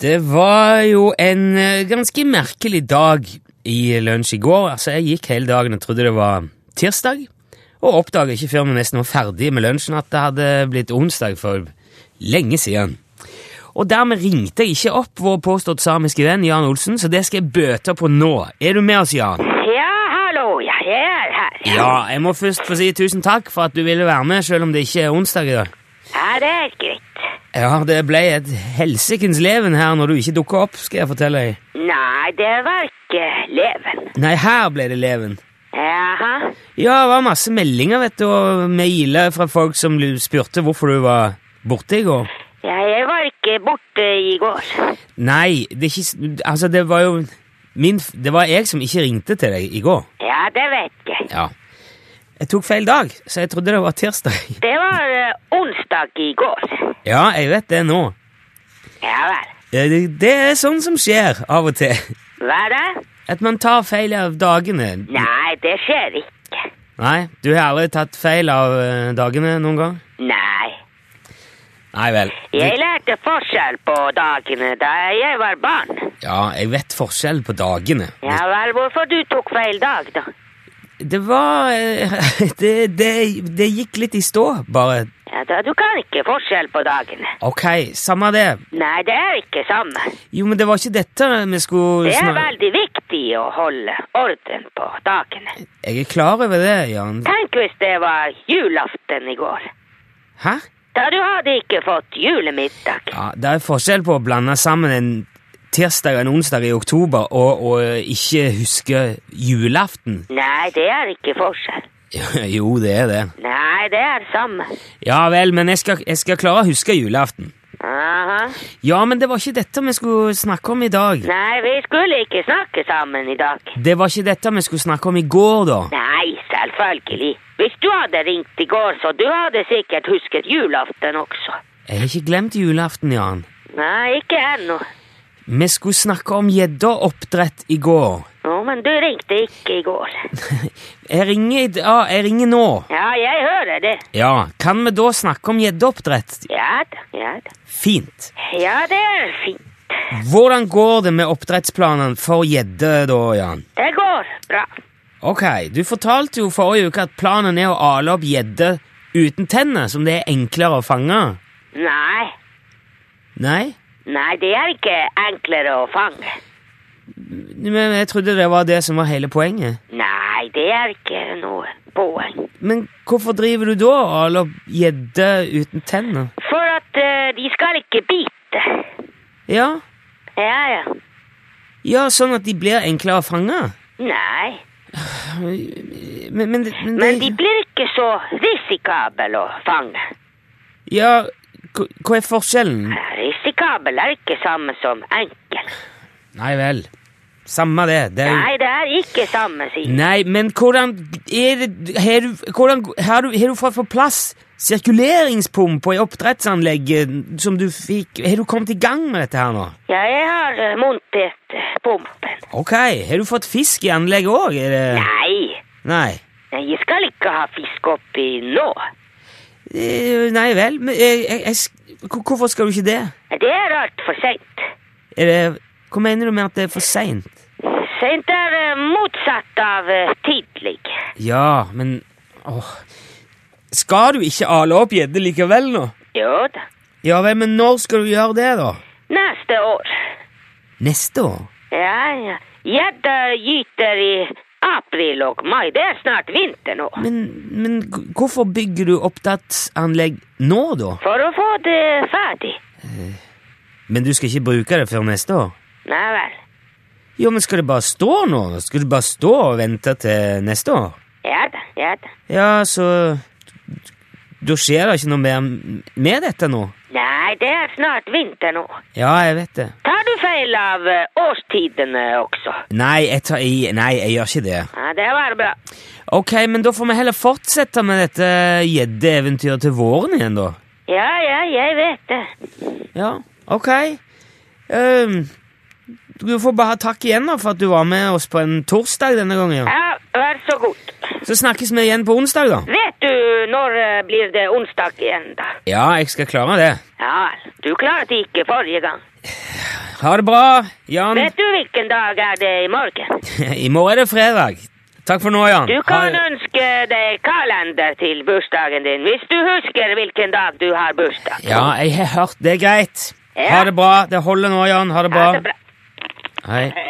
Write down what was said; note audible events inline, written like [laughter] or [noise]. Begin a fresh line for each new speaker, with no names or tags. Det var jo en eh, ganske merkelig dag i lunsj i går. Altså, jeg gikk hele dagen og trodde det var tirsdag, og oppdaga ikke før vi nesten var ferdig med lunsjen at det hadde blitt onsdag for lenge siden. Og dermed ringte jeg ikke opp vår påstått samiske venn Jan Olsen, så det skal jeg bøte på nå. Er du med oss, Jan?
Ja, hallo, ja, jeg er her.
Ja, jeg må først få si tusen takk for at du ville være med, selv om det ikke er onsdag i dag.
Ja, det er greit.
Ja, det ble et helsikens leven her når du ikke dukka opp, skal jeg fortelle deg.
Nei, det var ikke leven.
Nei, her ble det leven.
Jaha.
Ja, det var masse meldinger, vet du, og mailer fra folk som lu- spurte hvorfor du var borte i går.
Ja, jeg var ikke borte i går.
Nei, det er ikke s- Altså, det var jo min f- Det var jeg som ikke ringte til deg i går.
Ja, det vet jeg.
Ja. Jeg tok feil dag, så jeg trodde det var tirsdag.
Det var eh, onsdag i går.
[laughs] Ja, jeg vet det nå.
Ja vel.
Eh, Det det er sånn som skjer av og til.
Hva da?
[laughs] At man tar feil av dagene.
Nei, det skjer ikke.
Nei, du har aldri tatt feil av eh, dagene noen gang?
Nei.
Nei vel.
Jeg lærte forskjell på dagene da jeg var barn.
Ja, jeg vet forskjell på dagene.
Ja vel, hvorfor du tok feil dag da?
Det var eh, [laughs] det, det, det gikk litt i stå, bare.
Ja, da, du kan ikke forskjell på dagene.
Ok, samme det.
Nei, det er ikke samme.
Jo, men det var ikke dette vi skulle
Det er
snak-
veldig viktig å holde orden på dagene.
Jeg er klar over det, Jan.
Tenk hvis det var julaften i går.
Hæ?
Da du hadde ikke fått julemiddag.
Ja, Det er forskjell på å blande sammen en tirsdag og en onsdag i oktober og, og ikke huske julaften. [laughs]
Nei, det er ikke forskjell.
Jo, det er det.
Nei, det er samme.
Ja vel, men jeg skal, jeg skal klare å huske julaften.
Aha.
Ja, men det var ikke dette vi skulle snakke om i dag.
Nei, vi skulle ikke snakke sammen i dag.
Det var ikke dette vi skulle snakke om i går, da.
Nei, selvfølgelig. Hvis du hadde ringt i går, så du hadde sikkert husket julaften også.
Jeg har ikke glemt julaften, Jan.
Nei, ikke ennå.
Vi skulle snakke om gjeddeoppdrett i går. [laughs]
Å, men du ringte ikke i går.
Jeg ringer, i d- ja, jeg ringer nå.
Ja, jeg hører det.
Ja, kan vi da snakke om gjeddeoppdrett?
Ja da, ja da.
Fint.
Ja, det er fint.
Hvordan går det med oppdrettsplanene for gjedde, da, Jan?
Det går bra.
Ok, du fortalte jo forrige uke at planen er å ale opp gjedde uten tenner, som det er enklere å fange.
Nei,
Nei?
nei, det er ikke enklere å fange.
Men jeg trodde det var det som var hele poenget.
Nei, det er ikke noe poeng.
Men hvorfor driver du da og aler opp gjedde uten tenner?
For at eh, de skal ikke bite.
Ja,
Ja, ja.
Ja, sånn at de blir enklere å fange.
Nei,
Men, men, det-
men de blir ikke så risikable å fange.
Ja, hva hva er forskjellen?
Risikabel er ikke samme som enkel.
Nei vel. Samme det. det er... jo-
Nei, det er ikke samme, sier
Nei, men hvordan er det Har du, hvordan, har du, har du fått på plass sirkuleringspumpa i oppdrettsanlegget eh, som du fikk Har du kommet i gang med dette her nå?
Ja, jeg har eh, montert eh, pumpen.
Ok, har du fått fisk i anlegget òg? Det...
Nei,
Nei.
jeg skal ikke ha fisk oppi nå.
Eh, Nei vel. Men jeg, jeg, jeg, sk- hvor- hvorfor skal du ikke det?
Det er altfor seint.
Er det Hva mener du med at det er for seint?
Sent er eh, motsatt av eh, tidlig.
Ja, men åh. Skal du ikke ale opp gjedde likevel nå?
Jo da.
Ja vel, men når skal du gjøre det, da?
Neste år.
Neste år?
Ja, ja. Gjedda gyter i april og mai. Det er snart vinter nå.
Men, men g- hvorfor bygger du oppdrettsanlegg nå, da?
For å få det ferdig.
Men du skal ikke bruke det før neste år?
Nei vel.
Jo, men skal det bare stå nå? Skal det bare stå og vente til neste år?
Ja da, ja da.
Ja, så Da skjer det ikke noe mer med dette nå?
Nei, det er snart vinter nå.
Ja, jeg vet det.
Tar du feil av eh, årstidene også?
Nei, jeg tar i Nei, jeg gjør ikke det.
Ja, det var bra.
Ok, men da får vi heller fortsette med dette gjeddeeventyret til våren igjen, da.
Ja, ja, jeg vet det.
Ja, ok. Ehm, du får bare ha takk igjen da for at du var med oss på en torsdag denne gangen. ja.
Ja, vær så god.
Så snakkes vi igjen på onsdag, da.
Vet du når eh, blir det onsdag igjen, da?
Ja, jeg skal klare det.
Ja, du klarte ikke forrige gang.
Ha det bra, Jan.
Vet du hvilken dag er det i morgen?
[laughs] I morgen er det fredag. Takk for nå, Jan.
Du kan
Ha-
ønske deg kalender til bursdagen din, hvis du husker hvilken dag du har bursdag.
Ja, jeg har hørt. Det er greit.
Ja.
Ha det bra. Det holder nå, Jan. Ha det bra.
Ha det bra.
Hei.